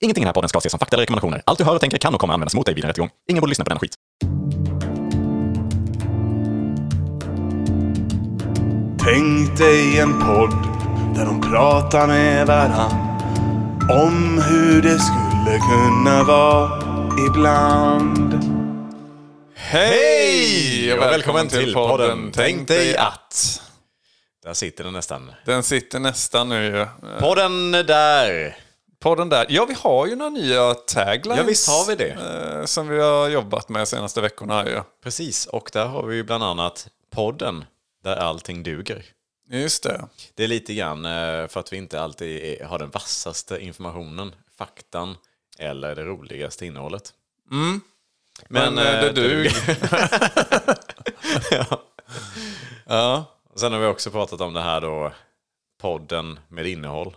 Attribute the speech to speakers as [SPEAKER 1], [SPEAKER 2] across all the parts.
[SPEAKER 1] Ingenting i den här podden ska ses som fakta eller rekommendationer. Allt du hör och tänker kan och kommer användas mot dig vid en rättegång. Ingen borde lyssna på den skit.
[SPEAKER 2] Tänk dig en podd där de pratar med varann om hur det skulle kunna vara ibland.
[SPEAKER 3] Hej och välkommen, till podden, Tänk dig att.
[SPEAKER 1] Där sitter den nästan.
[SPEAKER 3] Den sitter nästan nu ju. Eh,
[SPEAKER 1] Podden där.
[SPEAKER 3] Podden där. Ja, vi har ju några nya taglines.
[SPEAKER 1] Ja, visst har vi det.
[SPEAKER 3] eh, Som vi har jobbat med de senaste veckorna här ju.
[SPEAKER 1] Precis, och där har vi ju bland annat podden där allting duger.
[SPEAKER 3] Just det.
[SPEAKER 1] Det är lite grann eh, för att vi inte alltid är, har den vassaste informationen, faktan eller det roligaste innehållet.
[SPEAKER 3] Men, eh, det duger.
[SPEAKER 1] ja.
[SPEAKER 3] Ja.
[SPEAKER 1] Och Sen har vi också pratat om det här då, podden med innehåll.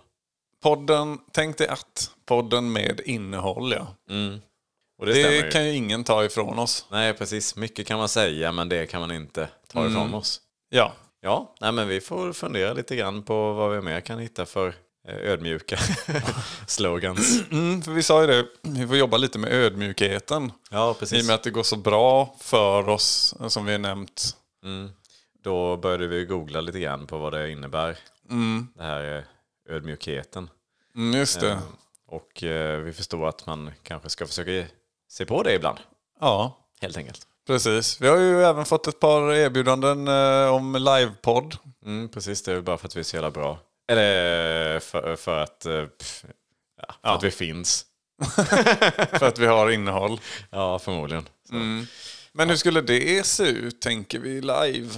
[SPEAKER 3] Podden Tänk dig att. Podden med innehåll ja.
[SPEAKER 1] Och det, stämmer ju.
[SPEAKER 3] Mm. Det kan ju ingen ta ifrån oss.
[SPEAKER 1] Nej, precis. Mycket kan man säga, men det kan man inte ta ifrån oss.
[SPEAKER 3] Ja.
[SPEAKER 1] Ja, nej, men vi får fundera lite grann på vad vi mer kan hitta för eh, ödmjuka slogans.
[SPEAKER 3] Mm, för vi sa ju det, vi får jobba lite med ödmjukheten.
[SPEAKER 1] Ja,
[SPEAKER 3] I och
[SPEAKER 1] precis.
[SPEAKER 3] med att det går så bra för oss eh, som vi har nämnt.
[SPEAKER 1] Då började vi googla lite grann på vad det innebär. Mm. Det här eh, ödmjukheten.
[SPEAKER 3] Mm, just det.
[SPEAKER 1] Och eh, vi förstår att man kanske ska försöka se på det ibland,
[SPEAKER 3] Ja.
[SPEAKER 1] helt enkelt.
[SPEAKER 3] Precis. Vi har ju även fått ett par erbjudanden eh, om livepodd.
[SPEAKER 1] Mm, precis, det är väl bara för att vi är så jävla bra. Eller för, för att... eh, Pff, ja, för att vi finns.
[SPEAKER 3] För att vi har innehåll.
[SPEAKER 1] Ja, förmodligen. Så.
[SPEAKER 3] Men hur skulle det se ut, tänker vi, live?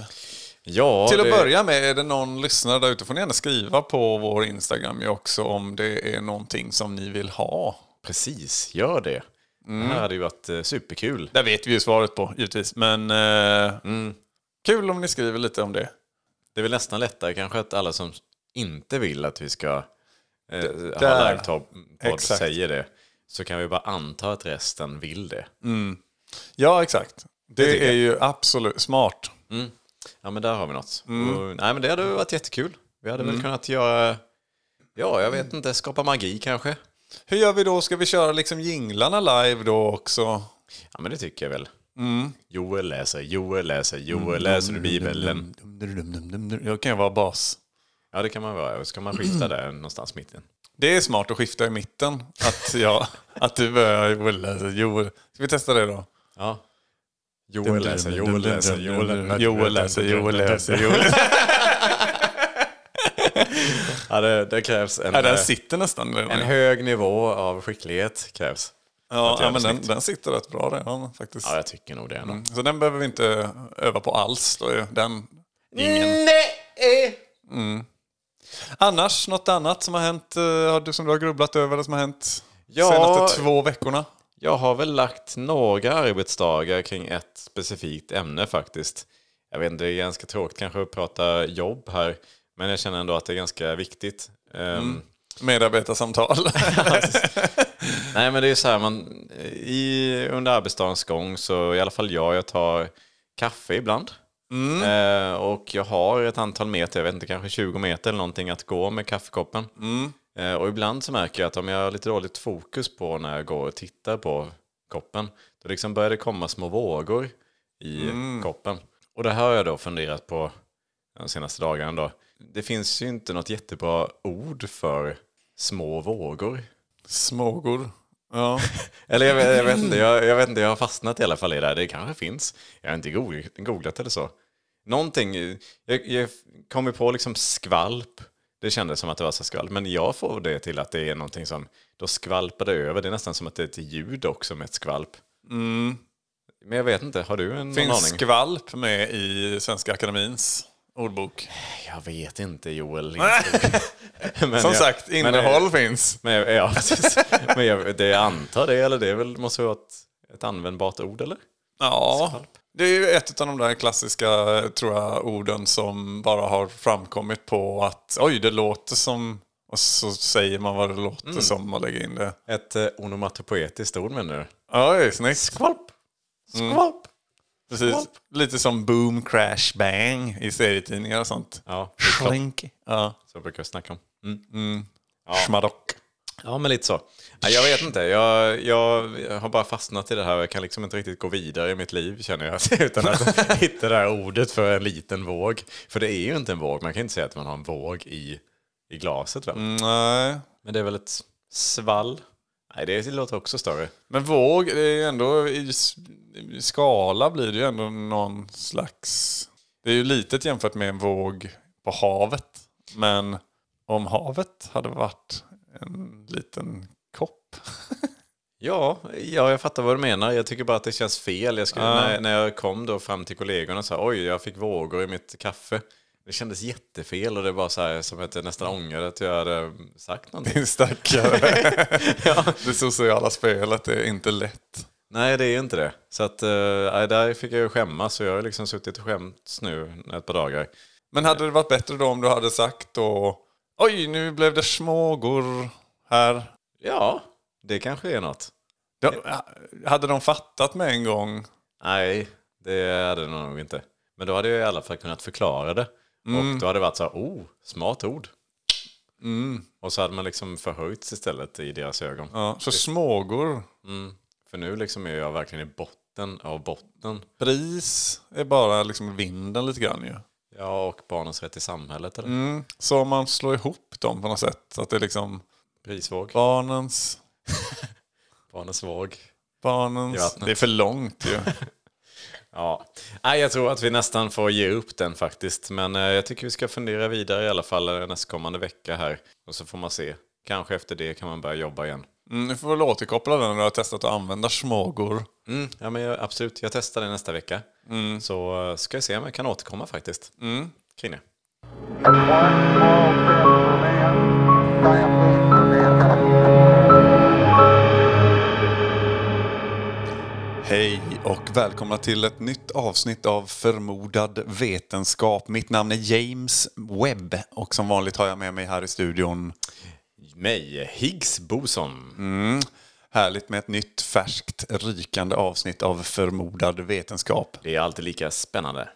[SPEAKER 1] Ja,
[SPEAKER 3] Till att
[SPEAKER 1] det-
[SPEAKER 3] börja med, är det någon lyssnare där ute får ni gärna skriva på vår Instagram ju också om det är någonting som ni vill ha.
[SPEAKER 1] Precis, gör det.
[SPEAKER 3] Mm.
[SPEAKER 1] Det här hade ju varit eh, superkul.
[SPEAKER 3] Där vet vi ju svaret på, givetvis. Men eh, kul om ni skriver lite om det.
[SPEAKER 1] Det är väl nästan lättare kanske att alla som inte vill att vi ska eh, ha
[SPEAKER 3] där.
[SPEAKER 1] live-podd
[SPEAKER 3] Exakt.
[SPEAKER 1] säger det. Så kan vi bara anta att resten vill det.
[SPEAKER 3] Ja, exakt. Det,
[SPEAKER 1] tycker
[SPEAKER 3] är
[SPEAKER 1] jag.
[SPEAKER 3] ju absolut smart.
[SPEAKER 1] Ja, men där har vi något.
[SPEAKER 3] Mm.
[SPEAKER 1] Och, nej, men det hade varit jättekul. Vi hade väl kunnat göra... Ja, jag vet inte. Skapa magi kanske.
[SPEAKER 3] Hur gör vi då? Ska vi köra liksom jinglarna live då också?
[SPEAKER 1] Ja, men det tycker jag väl.
[SPEAKER 3] Mm.
[SPEAKER 1] Joel läser, Joel läser, Joel läser du
[SPEAKER 3] Mm.
[SPEAKER 1] Bibeln.
[SPEAKER 3] Jag kan ju vara bas.
[SPEAKER 1] Ja, det kan man vara. Ska man skifta där någonstans mitten?
[SPEAKER 3] Det är smart att skifta i mitten. Att, jag, att du börjar Joel läser Joel. Ska vi testa det då?
[SPEAKER 1] Ja. Joel läser, Joel läser, Joel läser.
[SPEAKER 3] Joel läser, Joel läser, Joel läser.
[SPEAKER 1] Ja, det, det krävs en,
[SPEAKER 3] Ja, den
[SPEAKER 1] eh,
[SPEAKER 3] sitter nästan redan.
[SPEAKER 1] en hög nivå av skicklighet. Krävs.
[SPEAKER 3] Ja,
[SPEAKER 1] ett
[SPEAKER 3] ja,
[SPEAKER 1] jävla
[SPEAKER 3] men den,
[SPEAKER 1] snitt.
[SPEAKER 3] den sitter rätt bra redan faktiskt.
[SPEAKER 1] Ja, jag tycker nog det. ändå.
[SPEAKER 3] Så den behöver vi inte öva på alls. Då är den. Mm.
[SPEAKER 1] Nej!
[SPEAKER 3] Annars, något annat som har hänt? eh, Har du som du har grubblat över det som har hänt
[SPEAKER 1] Ja.
[SPEAKER 3] senaste två veckorna?
[SPEAKER 1] Jag har väl lagt några arbetsdagar kring ett specifikt ämne faktiskt. Jag vet inte, det är ganska tråkigt kanske att prata jobb här. Men jag känner ändå att det är ganska viktigt. Ehm,
[SPEAKER 3] Medarbetarsamtal.
[SPEAKER 1] Nej men det är så här, man, i, under arbetsdagens gång så i alla fall jag, jag tar kaffe ibland. Eh, och jag har ett antal meter, jag vet inte, kanske 20 meter eller någonting att gå med kaffekoppen. Eh, och ibland så märker jag att om jag har lite dåligt fokus på när jag går och tittar på koppen, då liksom börjar det komma små vågor i koppen. Och det här har jag då funderat på de senaste dagarna då. Det finns ju inte något jättebra ord för små vågor.
[SPEAKER 3] Smågor. Ja.
[SPEAKER 1] Eller jag vet, jag, vet inte, jag, jag vet inte, jag har fastnat i alla fall i det här. Det kanske finns. Jag har inte googl- googlat eller så. Någonting, jag, jag kom ju på liksom skvalp. Det kändes som att det var så skvalp. Men jag får det till att det är någonting som, då skvalpar det över. Det är nästan som att det är ett ljud också med ett skvalp. Mm. Men jag vet inte, har du en någon
[SPEAKER 3] Finns
[SPEAKER 1] aning?
[SPEAKER 3] skvalp med i Svenska Akademins ordbok?
[SPEAKER 1] jag vet inte Joel Lindskog. Men
[SPEAKER 3] Som
[SPEAKER 1] jag-
[SPEAKER 3] sagt,
[SPEAKER 1] men-
[SPEAKER 3] innehåll finns.
[SPEAKER 1] Men, jag- ja, precis. men jag, det jag antar det, eller det är väl, måste vara ett, ett användbart ord eller?
[SPEAKER 3] Ja, det är ju ett av de där klassiska eh, tror jag, orden som bara har framkommit på att oj, det låter som... Och så säger man vad det låter
[SPEAKER 1] Mm.
[SPEAKER 3] som och lägger in det.
[SPEAKER 1] Ett eh, onomatopoetiskt ord menar du? Mm.
[SPEAKER 3] Oj, snyggt.
[SPEAKER 1] Skvalp! Skvalp!
[SPEAKER 3] Precis. Lite som boom, crash, bang i serietidningar och sånt.
[SPEAKER 1] Ja,
[SPEAKER 3] Slink. Ja.
[SPEAKER 1] så brukar jag snacka om. Mm.
[SPEAKER 3] Schmadock.
[SPEAKER 1] Ja, men lite så. Nej, jag vet inte. Jag, jag har bara fastnat i det här och jag kan liksom inte riktigt gå vidare i mitt liv känner jag. Utan att hitta det här ordet för en liten våg. För det är ju inte en våg. Man kan inte säga att man har en våg i, i glaset väl?
[SPEAKER 3] Mm, Nej.
[SPEAKER 1] Mm. Men det är väl ett svall? Nej, det låter också större.
[SPEAKER 3] Men våg, det är ju ändå i, s- i skala blir det ju ändå någon slags... Det är ju litet jämfört med en våg på havet. Men om havet hade varit en liten kopp.
[SPEAKER 1] Ja, ja, jag fattar vad du menar. Jag tycker bara att det känns fel. Jag skulle,
[SPEAKER 3] Ja.
[SPEAKER 1] när, när jag kom då fram till kollegorna och sa oj, jag fick vågor i mitt kaffe. Det kändes jättefel och det var så här som att jag nästan ångrade att jag hade sagt någonting.
[SPEAKER 3] Din stackare. Det sociala spelet är inte lätt.
[SPEAKER 1] Nej, det är inte det. Så att, eh, nej, där fick jag ju skämmas och jag har liksom suttit och skämts nu ett par dagar.
[SPEAKER 3] Men hade det varit bättre då om du hade sagt då Oj, nu blev det smågor här.
[SPEAKER 1] Ja, det kanske är något.
[SPEAKER 3] De, hade de fattat med en gång?
[SPEAKER 1] Nej, det hade det nog inte. Men då hade jag i alla fall kunnat förklara det.
[SPEAKER 3] Mm.
[SPEAKER 1] Och då hade det varit så här, oh, smart ord. Och så hade man liksom förhöjts istället i deras ögon.
[SPEAKER 3] Mm. Ja, så smågor.
[SPEAKER 1] För nu liksom är jag verkligen i botten av botten.
[SPEAKER 3] Pris är bara liksom vinden lite grann ju.
[SPEAKER 1] Ja, och barnens rätt i samhället eller?
[SPEAKER 3] Mm. Så om man slår ihop dem på något sätt. Att det är liksom
[SPEAKER 1] Prisvåg,
[SPEAKER 3] barnens,
[SPEAKER 1] barnens våg. I
[SPEAKER 3] barnens.
[SPEAKER 1] vattnet.
[SPEAKER 3] Det är för långt ju.
[SPEAKER 1] Ja. Nej, jag tror att vi nästan får ge upp den faktiskt. Men eh, jag tycker vi ska fundera vidare i alla fall eh, nästkommande vecka här. Och så får man se. Kanske efter det kan man börja jobba igen.
[SPEAKER 3] Mm, nu får vi väl återkoppla den när du har testat att använda smågor.
[SPEAKER 1] Mm, ja, men jag, absolut, jag testar det nästa vecka. Så eh, ska jag se om jag kan återkomma faktiskt. Kring det.
[SPEAKER 4] That's one small step for man, giant leap for mankind.
[SPEAKER 3] Hej och välkomna till ett nytt avsnitt av Förmodad vetenskap. Mitt namn är James Webb och som vanligt har jag med mig här i studion
[SPEAKER 1] Mig, Higgs Boson.
[SPEAKER 3] härligt med ett nytt färskt rykande avsnitt av Förmodad vetenskap.
[SPEAKER 1] Det är alltid lika spännande.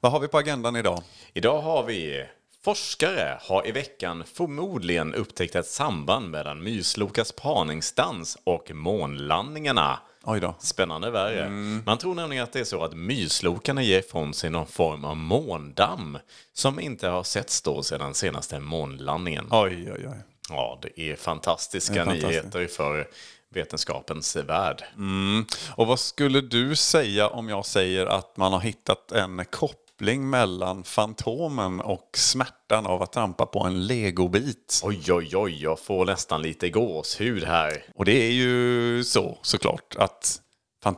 [SPEAKER 3] Vad har vi på agendan idag?
[SPEAKER 1] Idag har vi Forskare har i veckan förmodligen upptäckt ett samband mellan Myslokas parningsdans och månlandningarna.
[SPEAKER 3] Oj då.
[SPEAKER 1] Spännande värre. Man tror nämligen att det är så att myslokarna ger ifrån sig någon form av måndamm som inte har setts då sedan senaste månlandningen.
[SPEAKER 3] Oj, oj, oj.
[SPEAKER 1] Ja, det är fantastiska
[SPEAKER 3] Det är fantastiskt.
[SPEAKER 1] nyheter för vetenskapens värld.
[SPEAKER 3] Och vad skulle du säga om jag säger att man har hittat en koppling mellan Fantomen och smärtan av att trampa på en legobit?
[SPEAKER 1] Oj, oj, oj, jag får nästan lite gåshud här.
[SPEAKER 3] Och det är ju så såklart att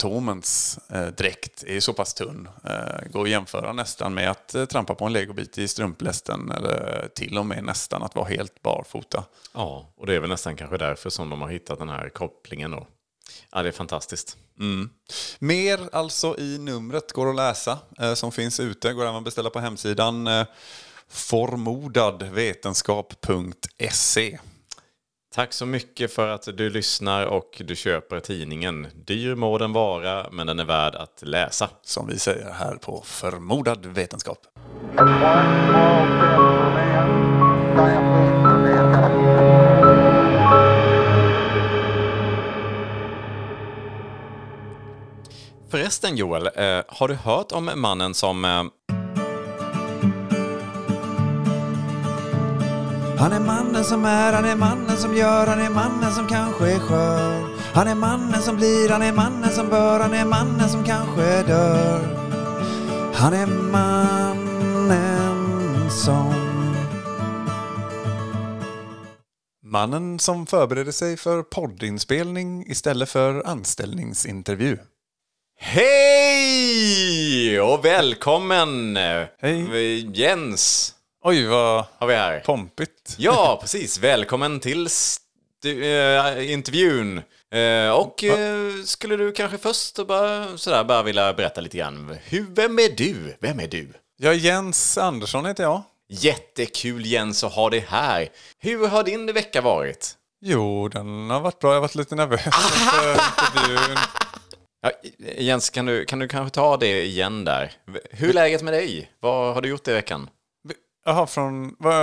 [SPEAKER 3] Fantomens eh, dräkt är så pass tunn. Eh, går att jämföra nästan med att eh, trampa på en legobit i strumplästen eller till och med nästan att vara helt barfota.
[SPEAKER 1] Ja, och det är väl nästan kanske därför som de har hittat den här kopplingen då. Ja, det är fantastiskt.
[SPEAKER 3] Mer alltså i numret går att läsa eh, som finns ute. Går även att beställa på hemsidan eh, formodadvetenskap.se.
[SPEAKER 1] Tack så mycket för att du lyssnar och du köper tidningen. Dyr må den vara, men den är värd att läsa.
[SPEAKER 3] Som vi säger här på Förmodad vetenskap.
[SPEAKER 4] That's one small step for man, giant leap for mankind.
[SPEAKER 1] Förresten Joel, eh, har du hört om mannen som... Eh,
[SPEAKER 5] Han är mannen som är, han är mannen som gör, han är mannen som kanske är skör. Han är mannen som blir, han är mannen som bör, han är mannen som kanske dör. Han är mannen som...
[SPEAKER 3] Mannen som förbereder sig för poddinspelning istället för anställningsintervju.
[SPEAKER 1] Hej! Och välkommen! Eh,
[SPEAKER 3] Hej.
[SPEAKER 1] Jens
[SPEAKER 3] Oj, vad
[SPEAKER 1] har vi här.
[SPEAKER 3] pompigt.
[SPEAKER 1] Ja, precis. Välkommen till stu- eh, intervjun. Eh, och eh, skulle du kanske först och bara, sådär, bara vilja berätta lite grann. Hur, vem är du? Vem är du?
[SPEAKER 3] Ja, Jens Andersson heter jag.
[SPEAKER 1] Jättekul Jens att ha dig här. Hur har din vecka varit?
[SPEAKER 3] Jo, den har varit bra. Jag har varit lite nervös inför intervjun.
[SPEAKER 1] Ja, Jens, kan du, kan du kanske ta det igen där? Hur är läget med dig? Vad har du gjort i veckan?
[SPEAKER 3] Jaha, från... vad-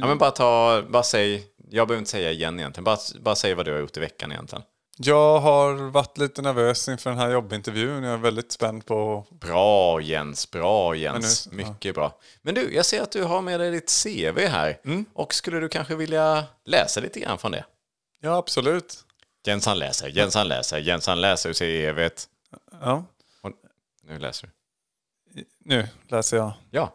[SPEAKER 1] Ja, men bara ta, bara säg jag behöver inte säga igen egentligen. Bara, bara säg vad du har gjort i veckan egentligen.
[SPEAKER 3] Jag har varit lite nervös inför den här jobbintervjun. Jag är väldigt spänd på...
[SPEAKER 1] Bra Jens, bra Jens.
[SPEAKER 3] Men nu-
[SPEAKER 1] Mycket bra. Men du, jag ser att du har med dig ditt CV här.
[SPEAKER 3] Mm.
[SPEAKER 1] Och skulle du kanske vilja läsa lite grann från det?
[SPEAKER 3] Ja, absolut.
[SPEAKER 1] Jens han läser, Jens han läser, Jens han läser ur CVet.
[SPEAKER 3] Ja.
[SPEAKER 1] Och nu läser du.
[SPEAKER 3] Nu läser jag.
[SPEAKER 1] Ja,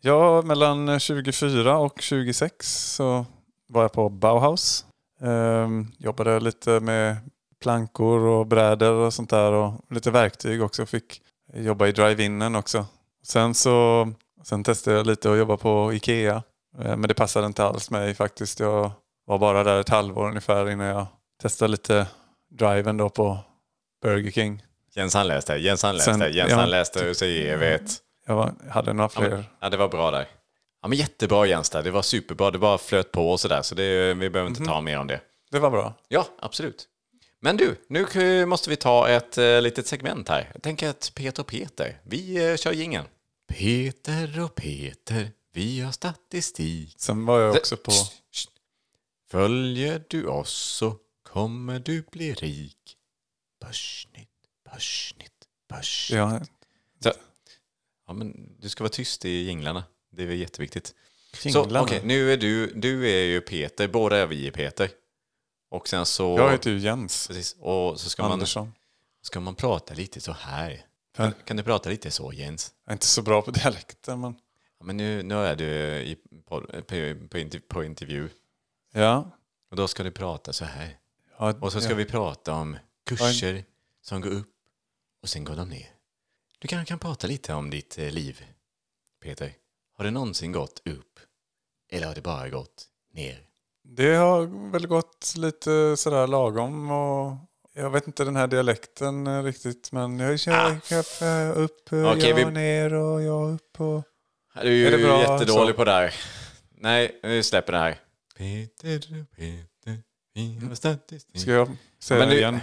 [SPEAKER 3] Ja, mellan 24 och 26 så var jag på Bauhaus. Ehm, jobbade lite med plankor och brädor och sånt där och lite verktyg också. Fick jobba i drive-inen också. Sen så sen testade jag lite att jobba på Ikea. Eh, men det passade inte alls mig faktiskt. Jag var bara där ett halvår ungefär innan jag testade lite driven då på Burger King.
[SPEAKER 1] Jens han läste, Jens han läste,
[SPEAKER 3] Sen-
[SPEAKER 1] Jens
[SPEAKER 3] ja.
[SPEAKER 1] han läste ur CVet.
[SPEAKER 3] Jag var, hade några
[SPEAKER 1] Ja, men-
[SPEAKER 3] fler.
[SPEAKER 1] Ja, det var bra där. Ja, men jättebra Jens där. Det var superbra. Det bara flöt på och sådär. Så det, vi behöver
[SPEAKER 3] Mhm.
[SPEAKER 1] inte ta mer om det.
[SPEAKER 3] Det var bra.
[SPEAKER 1] Ja, absolut. Men du, nu k- måste vi ta ett eh, litet segment här. Jag tänker att Peter och Peter, vi eh, kör jingeln. Peter och Peter, vi har statistik.
[SPEAKER 3] Sen var jag också på...
[SPEAKER 1] Psst, psst. Följer du oss så kommer du bli rik. Börsnytt, börsnytt, börsnytt.
[SPEAKER 3] Ja,
[SPEAKER 1] Ja, men du ska vara tyst i jinglarna. Det är väl jätteviktigt. Så,
[SPEAKER 3] Jinglarna.
[SPEAKER 1] okej, nu är du, du är ju Peter, båda är vi Peter. Och sen så...
[SPEAKER 3] Jag heter ju Jens
[SPEAKER 1] Precis, och så ska man,
[SPEAKER 3] Andersson.
[SPEAKER 1] ska man prata lite så här.
[SPEAKER 3] Fan.
[SPEAKER 1] Kan du prata lite så Jens?
[SPEAKER 3] Jag är inte så bra på dialekter men...
[SPEAKER 1] Ja, men nu, nu är du i, på, på, på, interv, på intervju
[SPEAKER 3] Ja.
[SPEAKER 1] och då ska du prata så här.
[SPEAKER 3] ja
[SPEAKER 1] Och så ska
[SPEAKER 3] ja.
[SPEAKER 1] vi prata om kurser som går upp och sen går de ner. Du kanske kan prata lite om ditt eh, liv, Peter. Har det någonsin gått upp? Eller har det bara gått ner?
[SPEAKER 3] Det har väl gått lite sådär lagom och... Jag vet inte den här dialekten eh, riktigt men jag kör ah. upp, eh,
[SPEAKER 1] Okej,
[SPEAKER 3] jag
[SPEAKER 1] vi-
[SPEAKER 3] ner och jag upp och...
[SPEAKER 1] Du är,
[SPEAKER 3] Är det
[SPEAKER 1] ju
[SPEAKER 3] bra
[SPEAKER 1] jättedålig
[SPEAKER 3] så?
[SPEAKER 1] på det här. Nej, vi släpper det här. Peter, Peter, vi har statistik.
[SPEAKER 3] Ska jag säga
[SPEAKER 1] Men
[SPEAKER 3] det
[SPEAKER 1] du-
[SPEAKER 3] igen?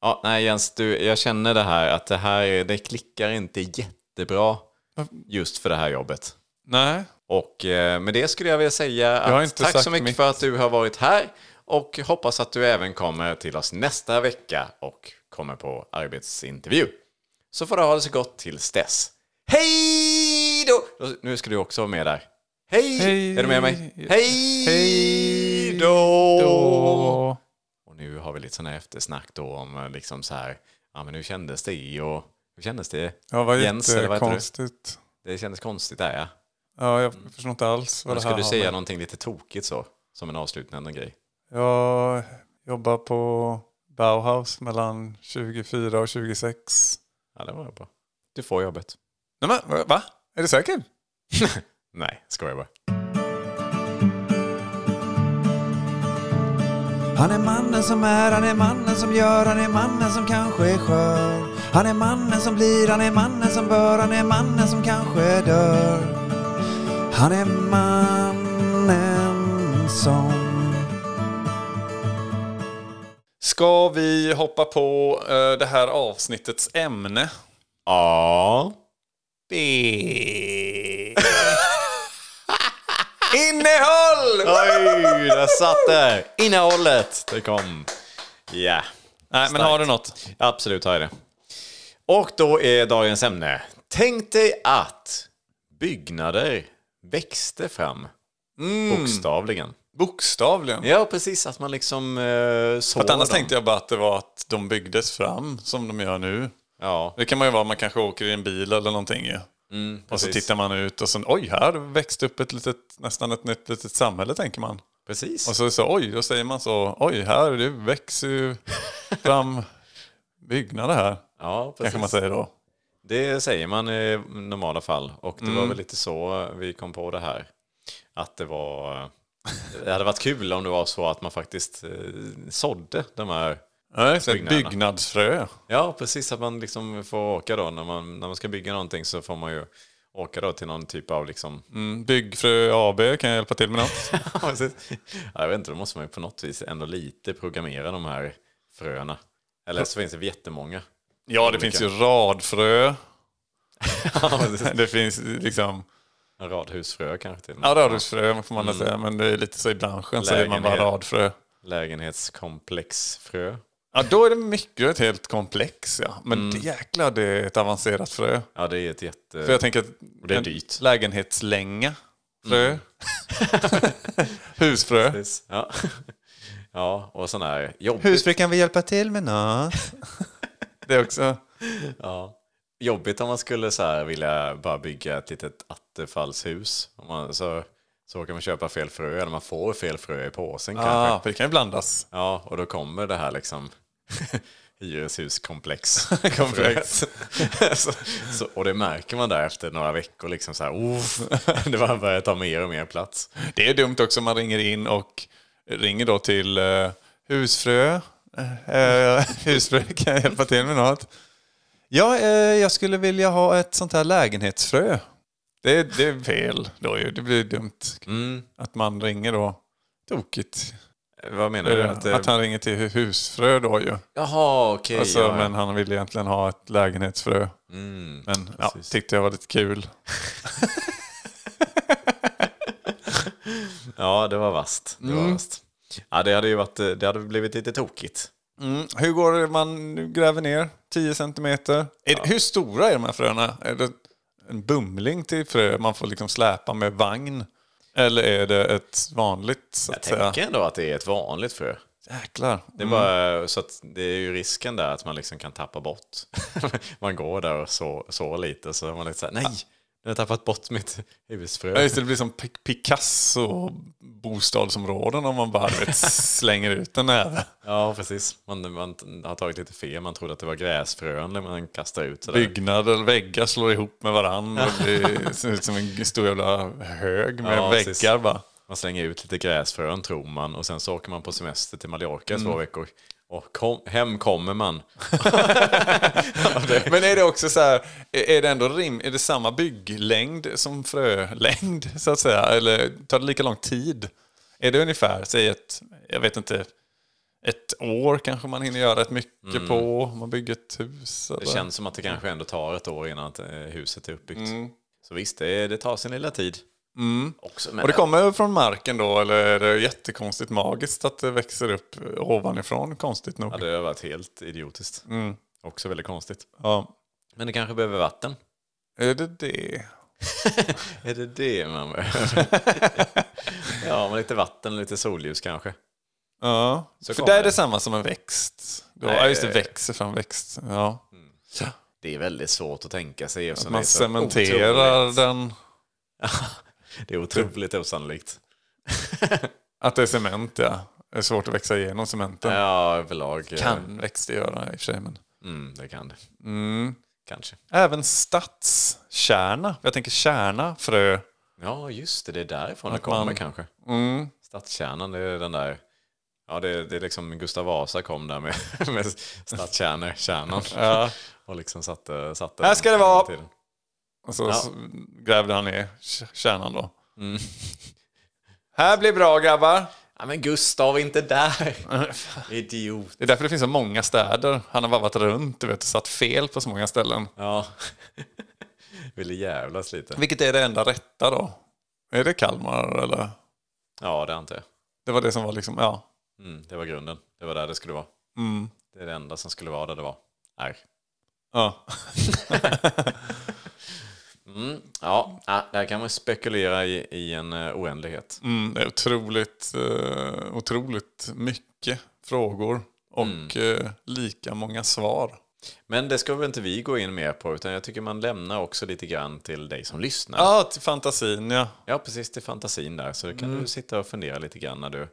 [SPEAKER 1] Ja, nej Jens, du, jag känner det här att det här, det klickar inte jättebra just för det här jobbet.
[SPEAKER 3] Nej.
[SPEAKER 1] Och eh, med det skulle jag vilja säga
[SPEAKER 3] har
[SPEAKER 1] att
[SPEAKER 3] inte
[SPEAKER 1] tack
[SPEAKER 3] sagt
[SPEAKER 1] så mycket
[SPEAKER 3] mitt.
[SPEAKER 1] för att du har varit här och hoppas att du även kommer till oss nästa vecka och kommer på arbetsintervju. Så får du ha det så gott tills dess. Hej då! Nu ska du också vara med där. Hej!
[SPEAKER 3] Hej!
[SPEAKER 1] Är du med mig? Hej,
[SPEAKER 3] Hej
[SPEAKER 1] då!
[SPEAKER 3] Då...
[SPEAKER 1] Och nu har vi lite sådana här eftersnack då om eh, liksom så här, ja men hur kändes det och hur kändes det?
[SPEAKER 3] Ja, vad
[SPEAKER 1] Jens, eller vad heter du?
[SPEAKER 3] jättekonstigt.
[SPEAKER 1] Det kändes konstigt där ja.
[SPEAKER 3] Ja, jag förstår inte alls vad
[SPEAKER 1] Men
[SPEAKER 3] det här
[SPEAKER 1] ska du
[SPEAKER 3] har
[SPEAKER 1] säga
[SPEAKER 3] med-
[SPEAKER 1] någonting lite tokigt så? Som en avslutande grej.
[SPEAKER 3] Jag jobbar på Bauhaus mellan 24 och 26.
[SPEAKER 1] Ja, det var bra. Du får jobbet.
[SPEAKER 3] Nej men va? Är du säker?
[SPEAKER 1] Nej, skojar bara.
[SPEAKER 5] Han är mannen som är, han är mannen som gör, han är mannen som kanske är skör. Han är mannen som blir, han är mannen som bör, han är mannen som kanske dör. Han är mannen som...
[SPEAKER 3] Ska vi hoppa på eh, det här avsnittets ämne?
[SPEAKER 1] Ja.
[SPEAKER 3] Innehåll!
[SPEAKER 1] Oj, där satt det! Innehållet, det kom. Ja,
[SPEAKER 3] Nej, men har du något?
[SPEAKER 1] absolut har jag det. Och då är dagens ämne. Tänk dig att byggnader växte fram.
[SPEAKER 3] Mm.
[SPEAKER 1] Bokstavligen.
[SPEAKER 3] Bokstavligen.
[SPEAKER 1] Ja, precis. Att man liksom eh, såg
[SPEAKER 3] För att annars
[SPEAKER 1] dem.
[SPEAKER 3] tänkte jag bara att det var att de byggdes fram som de gör nu.
[SPEAKER 1] Ja,
[SPEAKER 3] Det kan man ju vara, man kanske åker i en bil eller någonting ju. och så
[SPEAKER 1] Mm, precis.
[SPEAKER 3] tittar man ut och så oj, här växte upp ett litet, nästan ett nytt litet samhälle tänker man.
[SPEAKER 1] precis.
[SPEAKER 3] Och så, så oj, då säger man så, oj, här det växer ju fram byggnader här.
[SPEAKER 1] ja, precis.
[SPEAKER 3] Kanske man säger då.
[SPEAKER 1] Det säger man i normala fall. Och det
[SPEAKER 3] Mm.
[SPEAKER 1] var väl lite så vi kom på det här. Att det var... eh, Det hade varit kul om det var så att man faktiskt eh, sådde de här...
[SPEAKER 3] Nej, så ett
[SPEAKER 1] Byggnaderna.
[SPEAKER 3] byggnadsfrö.
[SPEAKER 1] Ja, precis. Att man liksom får åka då. När man, när man ska bygga någonting så får man ju åka då till någon typ av liksom...
[SPEAKER 3] Mm, Byggfrö AB kan jag hjälpa till med något.
[SPEAKER 1] Ja, precis. Ja, jag vet inte, då måste man ju på något vis ändå lite programmera de här fröna. Eller så finns det jättemånga.
[SPEAKER 3] Ja, det finns ju radfrö.
[SPEAKER 1] Ja, precis.
[SPEAKER 3] Det finns liksom
[SPEAKER 1] En radhusfrö kanske till och med.
[SPEAKER 3] Ja, radhusfrö får man
[SPEAKER 1] Mm.
[SPEAKER 3] väl säga. Men det är lite så i branschen säger man bara
[SPEAKER 1] Lägenhet.
[SPEAKER 3] radfrö.
[SPEAKER 1] Lägenhetskomplexfrö.
[SPEAKER 3] Ja, då är det mycket ett helt komplex. Ja. Men
[SPEAKER 1] Mm.
[SPEAKER 3] det jäklar, det är ett avancerat frö.
[SPEAKER 1] Ja, det är ett jätte...
[SPEAKER 3] För jag tänker att
[SPEAKER 1] det är
[SPEAKER 3] en
[SPEAKER 1] dyrt. Mm.
[SPEAKER 3] lägenhetslänga, frö, husfrö.
[SPEAKER 1] Ja. ja, och sån här jobbigt,
[SPEAKER 3] Husfrö kan vi hjälpa till med något? det är också.
[SPEAKER 1] ja. jobbigt om man skulle så här vilja bara bygga ett litet attefallshus. Om man, så, så råkar man köpa fel frö, eller man får fel frö i påsen
[SPEAKER 3] Ah,
[SPEAKER 1] kanske.
[SPEAKER 3] för det kan ju blandas.
[SPEAKER 1] Ja, och då kommer det här liksom hyreshuskomplex.
[SPEAKER 3] Komplex.
[SPEAKER 1] så, så, och det märker man där efter några veckor, liksom så här, "Uff." det bara börjar ta mer och mer plats.
[SPEAKER 3] Det är dumt också om man ringer in och ringer då till eh, husfrö. Eh, husfrö kan jag hjälpa till med något. Ja, eh, jag skulle vilja ha ett sånt här lägenhetsfrö. Det, det är fel då ju. Det blir dumt
[SPEAKER 1] Mm.
[SPEAKER 3] att man ringer då. Tokigt.
[SPEAKER 1] Vad menar du?
[SPEAKER 3] Att,
[SPEAKER 1] Att, det-
[SPEAKER 3] Eh, att han ringer till hu- husfrö då ju.
[SPEAKER 1] Jaha, okej.
[SPEAKER 3] Alltså,
[SPEAKER 1] ja, ja.
[SPEAKER 3] Men han vill egentligen ha ett lägenhetsfrö.
[SPEAKER 1] Mm.
[SPEAKER 3] Men ja,
[SPEAKER 1] Precis.
[SPEAKER 3] tyckte jag var lite kul.
[SPEAKER 1] Ja, det var vasst. Det, var vasst. Ja, det hade ju varit, eh, det hade blivit lite tokigt.
[SPEAKER 3] Mm. Hur går det man gräver ner? 10 centimeter? Är, Hur stora är de här fröna? Är det en bumling till frö man får liksom släpa med vagn? Eller är det ett vanligt så
[SPEAKER 1] Jag Mm.
[SPEAKER 3] att säga?
[SPEAKER 1] tänker ändå att det är ett vanligt frö.
[SPEAKER 3] Jäklar.
[SPEAKER 1] Det är bara, eh, så att det är ju risken där att man liksom kan tappa bort. man går där och så, så lite så är man lite såhär, nej, nu har jag tappat bort mitt husfrö.
[SPEAKER 3] Ja, just det, det blir som Pic- Picasso-bostadsområden om man bara du vet, slänger ut en näve.
[SPEAKER 1] Ja, precis. Man, man har tagit lite fel, man trodde att det var gräsfrön när man kastar ut sådär.
[SPEAKER 3] Byggnader eller väggar slår ihop med varandra. och Det ser ut som en stor jävla hög med
[SPEAKER 1] Ja,
[SPEAKER 3] väggar
[SPEAKER 1] precis.
[SPEAKER 3] bara.
[SPEAKER 1] Man slänger ut lite gräsfrön tror man och sen så åker man på semester till Mallorca i två veckor. Och kom, hem kommer man.
[SPEAKER 3] Men är det också så här, är är det ändå rim, är det samma bygglängd som frölängd så att säga? Eller tar det lika lång tid? Är det ungefär, säg ett, jag vet inte, ett år kanske man hinner göra rätt mycket på om man bygger ett hus? Eller?
[SPEAKER 1] Mm. Det känns som att det kanske ändå tar ett år innan att eh, huset är uppbyggt.
[SPEAKER 3] Mm.
[SPEAKER 1] Så visst, det, det tar sin lilla tid. Också, men
[SPEAKER 3] Och det kommer från marken då eller är det jättekonstigt magiskt att det växer upp ovanifrån konstigt nog? Mm.
[SPEAKER 1] ja, det har varit helt idiotiskt. Också väldigt konstigt.
[SPEAKER 3] Ja.
[SPEAKER 1] Men det kanske behöver vatten.
[SPEAKER 3] Är det det?
[SPEAKER 1] Är det det man behöver? ja, men lite vatten och lite solljus kanske.
[SPEAKER 3] Ja,
[SPEAKER 1] Så
[SPEAKER 3] för
[SPEAKER 1] kommer
[SPEAKER 3] där är
[SPEAKER 1] det.
[SPEAKER 3] det samma som en växt. Då,
[SPEAKER 1] Nej.
[SPEAKER 3] ja, just det, växer fram växt. Ja.
[SPEAKER 1] Det är väldigt svårt att tänka sig. eftersom det
[SPEAKER 3] Man
[SPEAKER 1] är så
[SPEAKER 3] cementerar
[SPEAKER 1] otroligt-
[SPEAKER 3] den.
[SPEAKER 1] Det är otroligt osannolikt.
[SPEAKER 3] Att det är cement, ja. Det är svårt att växa igenom cementen.
[SPEAKER 1] Ja, överlag. eh,
[SPEAKER 3] Kan växter göra i och för sig. Men. Mm.
[SPEAKER 1] Mm, det kan det. Kanske.
[SPEAKER 3] Även stadskärna. Jag tänker kärna, frö.
[SPEAKER 1] Ja, just det. Det är därifrån det
[SPEAKER 3] Att
[SPEAKER 1] kommer
[SPEAKER 3] man-
[SPEAKER 1] kanske.
[SPEAKER 3] Mm.
[SPEAKER 1] Stadskärnan, det är den där... Ja, det, det är liksom Gustav Vasa kom där med, med stadskärnor, kärnan.
[SPEAKER 3] Ja.
[SPEAKER 1] Och liksom satte... satte
[SPEAKER 3] Här ska det vara!
[SPEAKER 1] till den.
[SPEAKER 3] Och så, så grävde han ner k- kärnan då.
[SPEAKER 1] Mm.
[SPEAKER 3] Här blir bra grabbar.
[SPEAKER 1] Ja, men Gustav, inte där! Idiot.
[SPEAKER 3] Det är därför det finns så många städer. Han har varvat runt du vet, och satt fel på så många ställen.
[SPEAKER 1] Ja. Ville jävlas lite.
[SPEAKER 3] Vilket är det enda rätta då? Är det Kalmar eller?
[SPEAKER 1] Ja, det antar jag.
[SPEAKER 3] Det var det som var liksom, ja.
[SPEAKER 1] Mm, det var grunden. Det var där det skulle vara.
[SPEAKER 3] Mm.
[SPEAKER 1] Det är det enda som skulle vara där det var. Nej.
[SPEAKER 3] ja.
[SPEAKER 1] Mm, ja, ja, där kan man spekulera i, i en eh, oändlighet.
[SPEAKER 3] Mm, det är otroligt, eh, otroligt mycket frågor och
[SPEAKER 1] Mm.
[SPEAKER 3] eh, lika många svar.
[SPEAKER 1] Men det ska väl inte vi gå in mer på, utan jag tycker man lämnar också lite grann till dig som lyssnar.
[SPEAKER 3] Ja, Ah, till fantasin ja.
[SPEAKER 1] Ja, precis till fantasin där. Så
[SPEAKER 3] Mm.
[SPEAKER 1] kan du sitta och fundera lite grann när du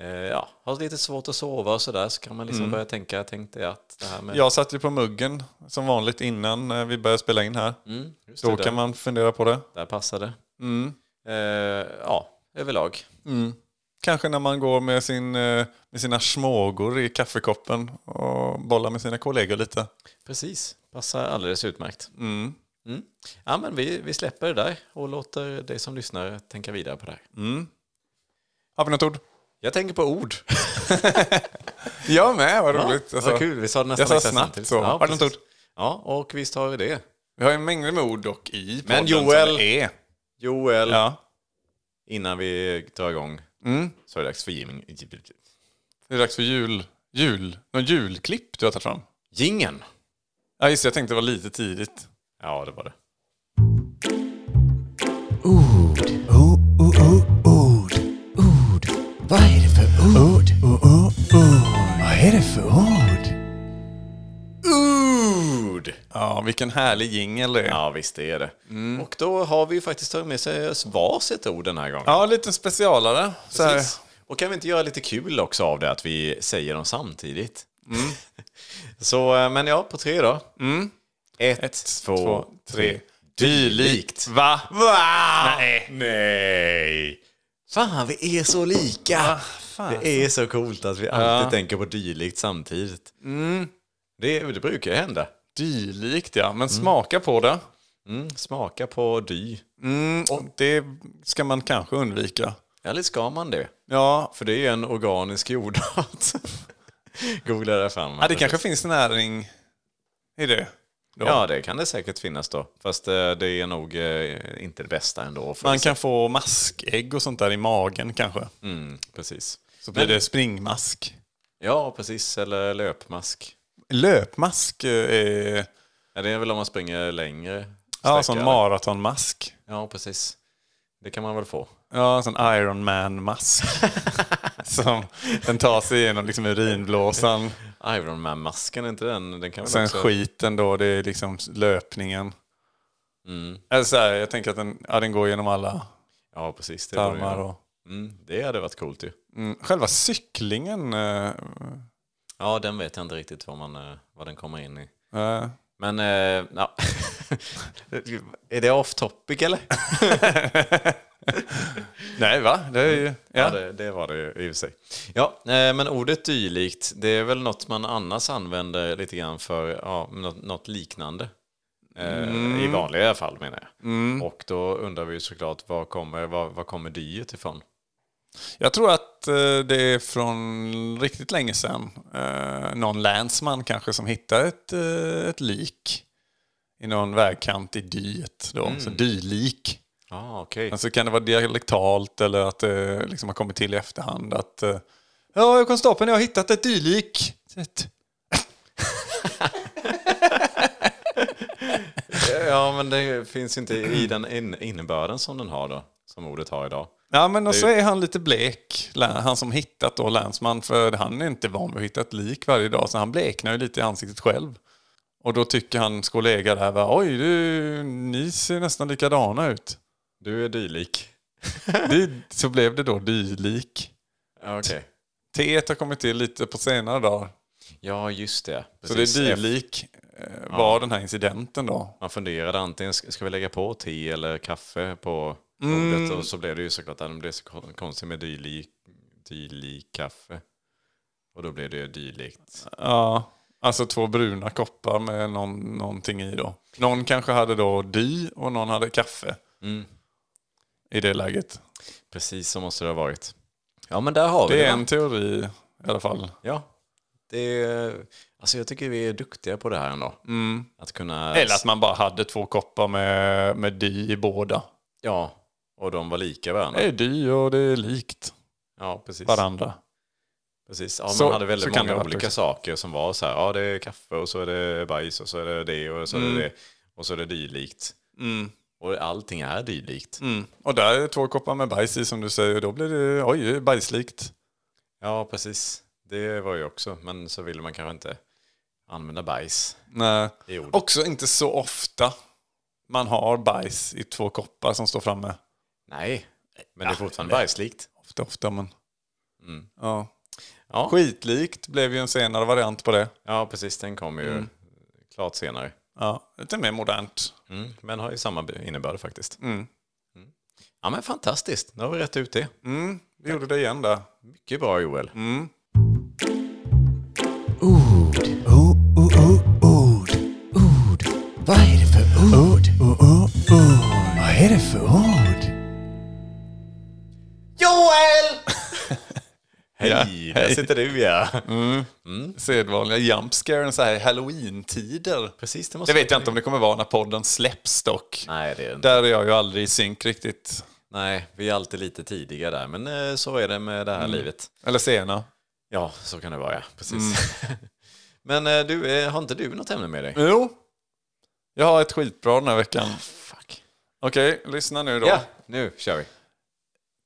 [SPEAKER 1] eh, ja, har lite svårt att sova och sådär. Så kan man
[SPEAKER 3] Mm.
[SPEAKER 1] liksom börja tänka, jag tänkte att det här med...
[SPEAKER 3] Jag satt ju på muggen som vanligt innan eh, vi började spela in här.
[SPEAKER 1] Mm, just det,
[SPEAKER 3] Då
[SPEAKER 1] där,
[SPEAKER 3] kan man Mm. fundera på det.
[SPEAKER 1] där passade. Eh, ja, överlag.
[SPEAKER 3] Kanske när man går med, sin, eh, med sina smågor i kaffekoppen och bollar med sina kollegor lite.
[SPEAKER 1] Precis, passar alldeles utmärkt. Mm. Ja, men vi, vi släpper det där och låter dig som lyssnar tänka vidare på det här.
[SPEAKER 3] Mm. Har vi något ord?
[SPEAKER 1] Jag tänker på ord.
[SPEAKER 3] Jag med, vad roligt.
[SPEAKER 1] Ja,
[SPEAKER 3] Alltså,
[SPEAKER 1] vad kul, vi sa det nästan
[SPEAKER 3] jag sa
[SPEAKER 1] exakt
[SPEAKER 3] snabbt
[SPEAKER 1] samtidigt.
[SPEAKER 3] så. Har du något
[SPEAKER 1] precis.
[SPEAKER 3] ord?
[SPEAKER 1] Ja, och visst har vi det.
[SPEAKER 3] Vi har ju mängder med ord dock i podden
[SPEAKER 1] Joel-
[SPEAKER 3] som det är.
[SPEAKER 1] Joel,
[SPEAKER 3] Ja.
[SPEAKER 1] innan vi drar igång
[SPEAKER 3] Mm.
[SPEAKER 1] så är det dags för Jim...
[SPEAKER 3] Det är dags för jul. Jul. Någon julklipp du har tagit fram?
[SPEAKER 1] Gingen.
[SPEAKER 3] Ja, just det. Jag tänkte det var lite tidigt.
[SPEAKER 1] Ja, det var det.
[SPEAKER 5] Oh, oh, oh, ord. Ord. Vad är det för ord? Oh, oh, oh, ord. Vad är det för ord?
[SPEAKER 1] Ood!
[SPEAKER 3] Ja, vilken härlig jingel det är. Mm. Ja.
[SPEAKER 1] Ja, visst det är det. Och då har vi ju faktiskt tagit med oss varsitt ord den här gången.
[SPEAKER 3] lite specialare. Så här.
[SPEAKER 1] Precis. Och kan vi inte göra lite kul också av det, att vi säger dem samtidigt?
[SPEAKER 3] Mm.
[SPEAKER 1] så, eh, men ja, på tre då. Ett, två,
[SPEAKER 3] Två, tre.
[SPEAKER 1] tre.
[SPEAKER 3] Dylikt. Va?
[SPEAKER 1] Va?
[SPEAKER 3] Nej.
[SPEAKER 1] Nej! Fan, vi är så lika!
[SPEAKER 3] Fan.
[SPEAKER 1] Det är så coolt att vi alltid tänker på dylikt samtidigt.
[SPEAKER 3] Mm.
[SPEAKER 1] Det, det brukar ju hända.
[SPEAKER 3] Dylikt, ja. Men smaka på det.
[SPEAKER 1] Mm, smaka på dy.
[SPEAKER 3] Mm, och det ska man kanske undvika.
[SPEAKER 1] Eller ska man det?
[SPEAKER 3] Ja,
[SPEAKER 1] För det är ju en organisk jordart. Googla det fram.
[SPEAKER 3] ja det kanske finns näring i det. Då.
[SPEAKER 1] Ja, det kan det säkert finnas då. Fast eh, det är nog eh, inte det bästa ändå. För
[SPEAKER 3] Man kan få maskägg och sånt där i magen kanske.
[SPEAKER 1] mm, precis.
[SPEAKER 3] Så blir det springmask.
[SPEAKER 1] Ja, precis. Eller löpmask.
[SPEAKER 3] Löpmask eh, är
[SPEAKER 1] Ja, det är väl om man springer längre.
[SPEAKER 3] ja,
[SPEAKER 1] sträcka,
[SPEAKER 3] sån
[SPEAKER 1] eller?
[SPEAKER 3] maratonmask.
[SPEAKER 1] Ja, precis. Det kan man väl få.
[SPEAKER 3] Ja, sån Iron Man-mask. som den tar sig igenom liksom urinblåsan.
[SPEAKER 1] Ironman-masken, är inte den? Den kan väl
[SPEAKER 3] Sen
[SPEAKER 1] också...
[SPEAKER 3] skiten då, det är liksom löpningen.
[SPEAKER 1] Mm.
[SPEAKER 3] Eller så här, jag tänker att den, ja, den går genom alla
[SPEAKER 1] Ja, precis. Det, borde
[SPEAKER 3] tarmar.
[SPEAKER 1] ju-
[SPEAKER 3] Och,
[SPEAKER 1] mm, det hade varit coolt ju.
[SPEAKER 3] mm, själva cyklingen, eh,
[SPEAKER 1] Ja, den vet jag inte riktigt vad, man, eh, vad den kommer in i.
[SPEAKER 3] eh,
[SPEAKER 1] Men, eh, ja. är det off topic eller?
[SPEAKER 3] nej va? Det är ju,
[SPEAKER 1] Ja,
[SPEAKER 3] ja.
[SPEAKER 1] det, det var det ju i och för sig. Ja, eh, men ordet dylikt, det är väl något man annars använder lite grann för ja, något, något liknande. Eh, I vanliga fall menar jag. Och då undrar vi ju såklart, var kommer, var, var kommer dyet ifrån?
[SPEAKER 3] Jag tror att eh, det är från riktigt länge sedan. Eh, någon länsman kanske som hittar ett, eh, ett lik i någon vägkant i dyet. Då. Så
[SPEAKER 1] Mm.
[SPEAKER 3] dylik.
[SPEAKER 1] Ja, ah, okej.
[SPEAKER 3] Men så kan det vara dialektalt eller att det liksom har kommit till i efterhand att eh, Ja, konstapeln, jag har hittat ett dylik. Ett-
[SPEAKER 1] Ja, men det finns ju inte i den in, innebörden som den har då, som ordet har idag.
[SPEAKER 3] Ja, men och
[SPEAKER 1] Det är
[SPEAKER 3] så är han lite blek, lä- han som hittat då länsman, för han är inte van vid att hitta ett lik varje dag, så han bleknar ju lite i ansiktet själv. Och då tycker hans kollega där, va, oj, du, ni ser nästan likadana ut.
[SPEAKER 1] Du är dylik.
[SPEAKER 3] Det, så blev det då dylik.
[SPEAKER 1] Okej.
[SPEAKER 3] T har kommit till lite på senare dagar.
[SPEAKER 1] Ja, just det.
[SPEAKER 3] Så
[SPEAKER 1] Precis.
[SPEAKER 3] det är dylik eh, var den här incidenten då.
[SPEAKER 1] Man funderade antingen, ska ska vi lägga på te eller kaffe på
[SPEAKER 3] Mm.
[SPEAKER 1] ordet? Och så blev det ju såklart, att det blev så kon- konstigt med dylik, dylik kaffe. Och då blev det ju dylikt.
[SPEAKER 3] Ja, alltså två bruna koppar med någon, någonting i då. Någon kanske hade då dy och någon hade kaffe.
[SPEAKER 1] Mm.
[SPEAKER 3] I det läget.
[SPEAKER 1] Precis så måste det ha varit. Ja, men där har vi
[SPEAKER 3] Det
[SPEAKER 1] det.
[SPEAKER 3] är
[SPEAKER 1] va?
[SPEAKER 3] en teori i alla fall.
[SPEAKER 1] Ja. Det är, alltså jag tycker vi är duktiga på det här ändå. Att kunna...
[SPEAKER 3] Eller att man bara hade två koppar med, med dy i båda.
[SPEAKER 1] Ja, och de var lika
[SPEAKER 3] Det
[SPEAKER 1] varandra.
[SPEAKER 3] är dy och det är likt
[SPEAKER 1] Ja, precis.
[SPEAKER 3] varandra.
[SPEAKER 1] Precis. Ja,
[SPEAKER 3] Så-
[SPEAKER 1] man hade
[SPEAKER 3] så
[SPEAKER 1] väldigt
[SPEAKER 3] kan det
[SPEAKER 1] många
[SPEAKER 3] vara,
[SPEAKER 1] olika
[SPEAKER 3] precis.
[SPEAKER 1] saker som var så här, ja det är kaffe och så är det bajs och så är det det och så
[SPEAKER 3] Mm.
[SPEAKER 1] är det det och så är det dylikt. Och allting är dylikt.
[SPEAKER 3] Mm. Och där är två koppar med bajs i som du säger. Då blir det oj, det är bajslikt.
[SPEAKER 1] Ja, precis. Det var ju också, men så ville man kanske inte använda bajs
[SPEAKER 3] Nej.
[SPEAKER 1] i ordet.
[SPEAKER 3] Också inte så ofta man har bajs i två koppar som står framme.
[SPEAKER 1] Nej, men det är fortfarande bajslikt.
[SPEAKER 3] Ofta, ofta men... Mm. Ja.
[SPEAKER 1] Ja.
[SPEAKER 3] Skitlikt blev ju en senare variant på det.
[SPEAKER 1] Ja, precis. Den kom ju
[SPEAKER 3] Mm.
[SPEAKER 1] klart senare.
[SPEAKER 3] Ja. Lite mer modernt.
[SPEAKER 1] Mm. Men har ju samma innebörd faktiskt. Mm. Ja, men fantastiskt. Nu har vi rätt ut det.
[SPEAKER 3] Mm, vi gjorde det igen där.
[SPEAKER 1] Mycket bra Joel.
[SPEAKER 5] Oh, oh, oh, ord. Ord. Vad är det för ord? Oh, oh, oh, ord. Vad är det för ord?
[SPEAKER 1] Joel! Hej Mm. Där sitter du ja.
[SPEAKER 3] Sedvanliga jumpscaren så här i halloween-tider.
[SPEAKER 1] Precis, det
[SPEAKER 3] Det
[SPEAKER 1] måste
[SPEAKER 3] vet jag inte om det kommer vara när podden släpps dock.
[SPEAKER 1] Nej, det är inte.
[SPEAKER 3] Där är jag ju aldrig i synk riktigt.
[SPEAKER 1] Nej, vi är alltid lite tidiga där, men eh, så är det med det här livet.
[SPEAKER 3] Eller sena.
[SPEAKER 1] Ja, så kan det vara, ja. Precis. men eh, du, eh, har inte du något ämne med dig? Ah,
[SPEAKER 3] Jo. Jag har ett skitbra den här veckan.
[SPEAKER 1] Fuck.
[SPEAKER 3] Okej, lyssna nu då.
[SPEAKER 1] Ja, nu kör vi.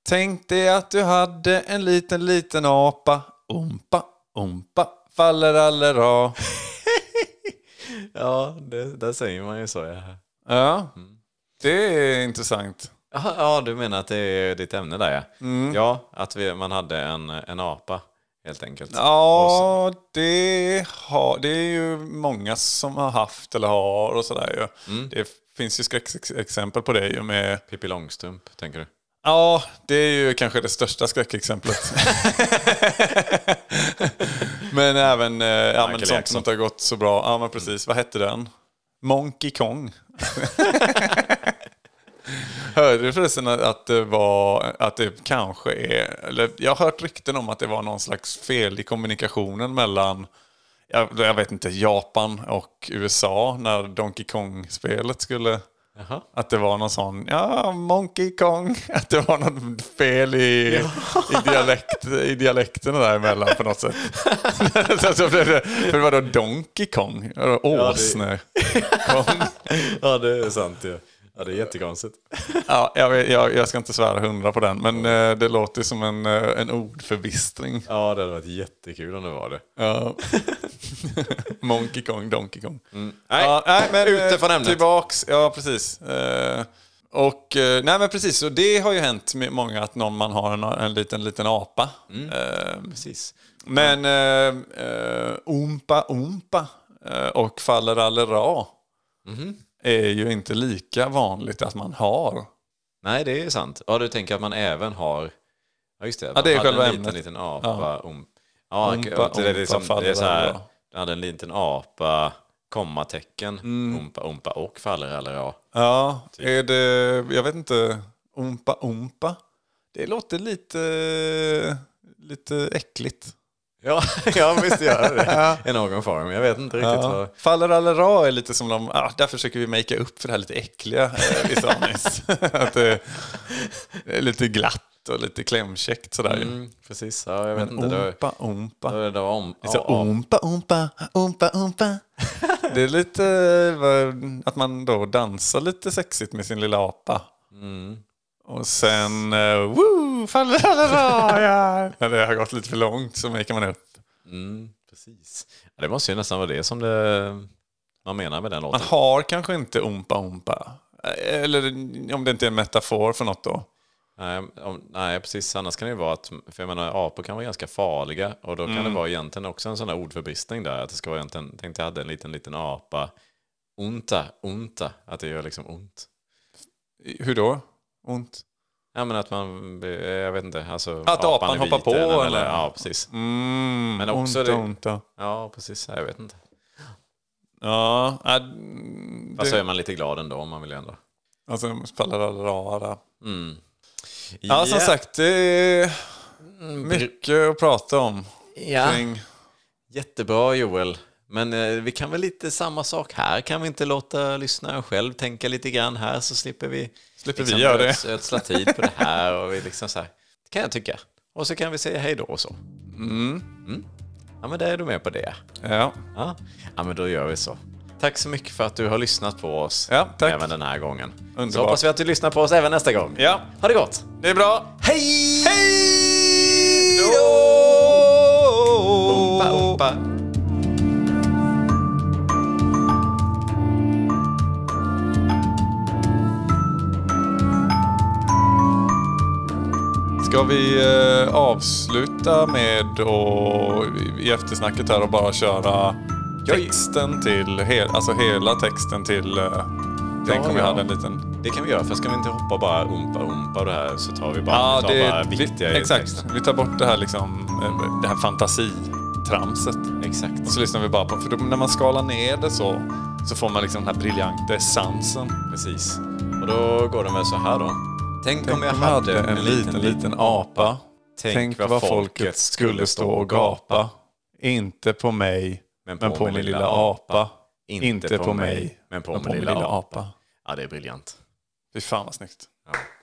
[SPEAKER 3] Tänk dig att du hade en liten, liten apa. Ompa, ompa, faller allera.
[SPEAKER 1] Ja, det, där säger man ju så. Ja.
[SPEAKER 3] Ja, det är intressant.
[SPEAKER 1] Jaha, ja, du menar att det är ditt ämne där ja. Ja, att vi, man hade en, en apa helt enkelt.
[SPEAKER 3] Ja, det, har, det är ju många som har haft eller har och sådär ju. Det finns ju skräckexempel på det ju med...
[SPEAKER 1] Pippi Långstrump, tänker du?
[SPEAKER 3] Ja, det är ju kanske det största skräckexemplet. men även eh, ja, men
[SPEAKER 1] Michael
[SPEAKER 3] sånt
[SPEAKER 1] Jackson.
[SPEAKER 3] som inte har gått så bra. Ja, men precis. Vad hette den? Monkey Kong. Hörde du förresten att det var, att det kanske är, eller jag har hört rykten om att det var någon slags fel i kommunikationen mellan, jag, jag vet inte, Japan och USA när Donkey Kong-spelet skulle
[SPEAKER 1] Jaha.
[SPEAKER 3] att det var någon sån, ja, Monkey Kong. Att det var något fel i, i, dialekt, i dialekterna däremellan på något sätt. så, så blev det, för det var då Donkey Kong, eller Åsne. Kong.
[SPEAKER 1] Ja, det är sant ja. Ja, det är jättekonstigt.
[SPEAKER 3] Ja, jag, vet- jag, jag ska inte svära hundra på den, men eh, det låter ju som en, eh, en ordförbistring.
[SPEAKER 1] Ja, det hade varit jättekul om det var det.
[SPEAKER 3] Ja. Monkey Kong, Donkey Kong.
[SPEAKER 1] Nej,
[SPEAKER 3] Ja, nej, men,
[SPEAKER 1] ute
[SPEAKER 3] eh,
[SPEAKER 1] från ämnet.
[SPEAKER 3] Tillbaks, ja precis. Eh, Och, eh, nej men precis, så det har ju hänt med många att någon man har en, en liten, liten apa. Eh,
[SPEAKER 1] Precis.
[SPEAKER 3] Men eh, eh, Oompa Oompa eh, och Fallerallera är ju inte lika vanligt att man har.
[SPEAKER 1] Nej, det är sant. Ja, du tänker att man även har... Ja, just det. man
[SPEAKER 3] det är
[SPEAKER 1] hade
[SPEAKER 3] själva
[SPEAKER 1] en liten,
[SPEAKER 3] ämnet.
[SPEAKER 1] liten apa. om- Ja,
[SPEAKER 3] Ompa,
[SPEAKER 1] och det är liksom,
[SPEAKER 3] ompa,
[SPEAKER 1] det är så här,
[SPEAKER 3] fallera.
[SPEAKER 1] du hade en liten apa, kommatecken,
[SPEAKER 3] Mm.
[SPEAKER 1] ompa, ompa och fallerallera.
[SPEAKER 3] Ja,
[SPEAKER 1] Typ.
[SPEAKER 3] är det, jag vet inte, Oompa Oompa? Det låter lite, lite äckligt.
[SPEAKER 1] Ja, ja, visst gör det I någon form. Jag vet inte riktigt vad...
[SPEAKER 3] Ja. Faller alla ra är lite som de, ah, där försöker vi makea upp för det här lite äckliga eh, i Samis. Att det det är lite glatt och lite klämkäckt sådär. ju.
[SPEAKER 1] Mm, precis, ja, jag vet
[SPEAKER 3] Men
[SPEAKER 1] inte. Det var,
[SPEAKER 3] ompa, ompa.
[SPEAKER 1] det var- det var om...
[SPEAKER 3] Det är så
[SPEAKER 1] ja, om-
[SPEAKER 3] ompa, ompa, ompa, ompa. Det är lite eh, vad- att man då dansar lite sexigt med sin lilla apa.
[SPEAKER 1] Mm.
[SPEAKER 3] Och sen, eh, woo, faller alla ra, ja. När det har gått lite för långt så makear man upp.
[SPEAKER 1] Mm, precis. Ja, det måste ju nästan vara det som det, man menar med den låten.
[SPEAKER 3] Man har kanske inte ompa ompa. Eller om det inte är en metafor för något då.
[SPEAKER 1] Nej, om, nej, precis. Annars kan det ju vara att, för jag menar, apor kan vara ganska farliga och då kan
[SPEAKER 3] Mm.
[SPEAKER 1] det vara egentligen också en sån där ordförbristning där. Att det ska vara egentligen, tänkte jag hade en liten, liten apa. Onta, onta, att det gör liksom ont.
[SPEAKER 3] Hur då? Ont?
[SPEAKER 1] Ja, men att man, blir- jag vet inte, alltså
[SPEAKER 3] Att apan
[SPEAKER 1] är
[SPEAKER 3] hoppar
[SPEAKER 1] vit
[SPEAKER 3] på,
[SPEAKER 1] i den,
[SPEAKER 3] eller?
[SPEAKER 1] Ja, precis.
[SPEAKER 3] Mm,
[SPEAKER 1] Men också
[SPEAKER 3] onta,
[SPEAKER 1] det-
[SPEAKER 3] onta.
[SPEAKER 1] Ja, precis. Jag vet inte.
[SPEAKER 3] Ja, äh,
[SPEAKER 1] Fast så är
[SPEAKER 3] det,
[SPEAKER 1] man lite glad ändå om man vill ändå.
[SPEAKER 3] alltså spelar alla rara.
[SPEAKER 1] Mm.
[SPEAKER 3] Ja, som sagt, det är
[SPEAKER 1] Mm,
[SPEAKER 3] mycket att prata om.
[SPEAKER 1] Ja.
[SPEAKER 3] Kring,
[SPEAKER 1] Jättebra Joel. Men eh, vi kan väl lite samma sak här. Kan vi inte låta lyssnaren själv tänka lite grann här så slipper vi
[SPEAKER 3] Slipper vi göra det.
[SPEAKER 1] öds- ödsla tid på det här. Och vi liksom så här. Det kan jag tycka. Och så kan vi säga hej då och så. Mm. Ja men där är du med på det.
[SPEAKER 3] ja.
[SPEAKER 1] Ja. ja men då gör vi så. Tack så mycket för att du har lyssnat på oss
[SPEAKER 3] Ja, tack.
[SPEAKER 1] även den här gången. Så
[SPEAKER 3] Underbart.
[SPEAKER 1] hoppas vi att du lyssnar på oss även nästa gång.
[SPEAKER 3] ja,
[SPEAKER 1] Ha det gott!
[SPEAKER 3] det är bra.
[SPEAKER 1] Hej!
[SPEAKER 3] Hej då!
[SPEAKER 1] Umpa, umpa.
[SPEAKER 3] Ska vi eh, avsluta med och, i eftersnacket här och bara köra texten till, hel, alltså hela texten till... Eh, tänk om vi
[SPEAKER 1] ja.
[SPEAKER 3] hade en liten...
[SPEAKER 1] Det kan vi göra, för ska vi inte hoppa bara umpa umpa och det här så tar vi bara, vi tar bara viktiga
[SPEAKER 3] vi, Exakt.
[SPEAKER 1] texten.
[SPEAKER 3] Vi tar bort det här liksom, eh, det här fantasitramset.
[SPEAKER 1] Exakt.
[SPEAKER 3] Och så lyssnar vi bara på, för då, när man skalar ner det så, så får man liksom den här briljanta essensen.
[SPEAKER 1] Precis. Och då går den väl så här då. Tänk, om jag hade en liten, liten
[SPEAKER 3] apa.
[SPEAKER 1] Tänk,
[SPEAKER 3] Tänk vad folket skulle stå och gapa. Inte på mig, men på, min lilla apa. Inte, på mig, men på min lilla apa.
[SPEAKER 1] Ja, det är briljant.
[SPEAKER 3] Fy fan vad snyggt.
[SPEAKER 1] Ja.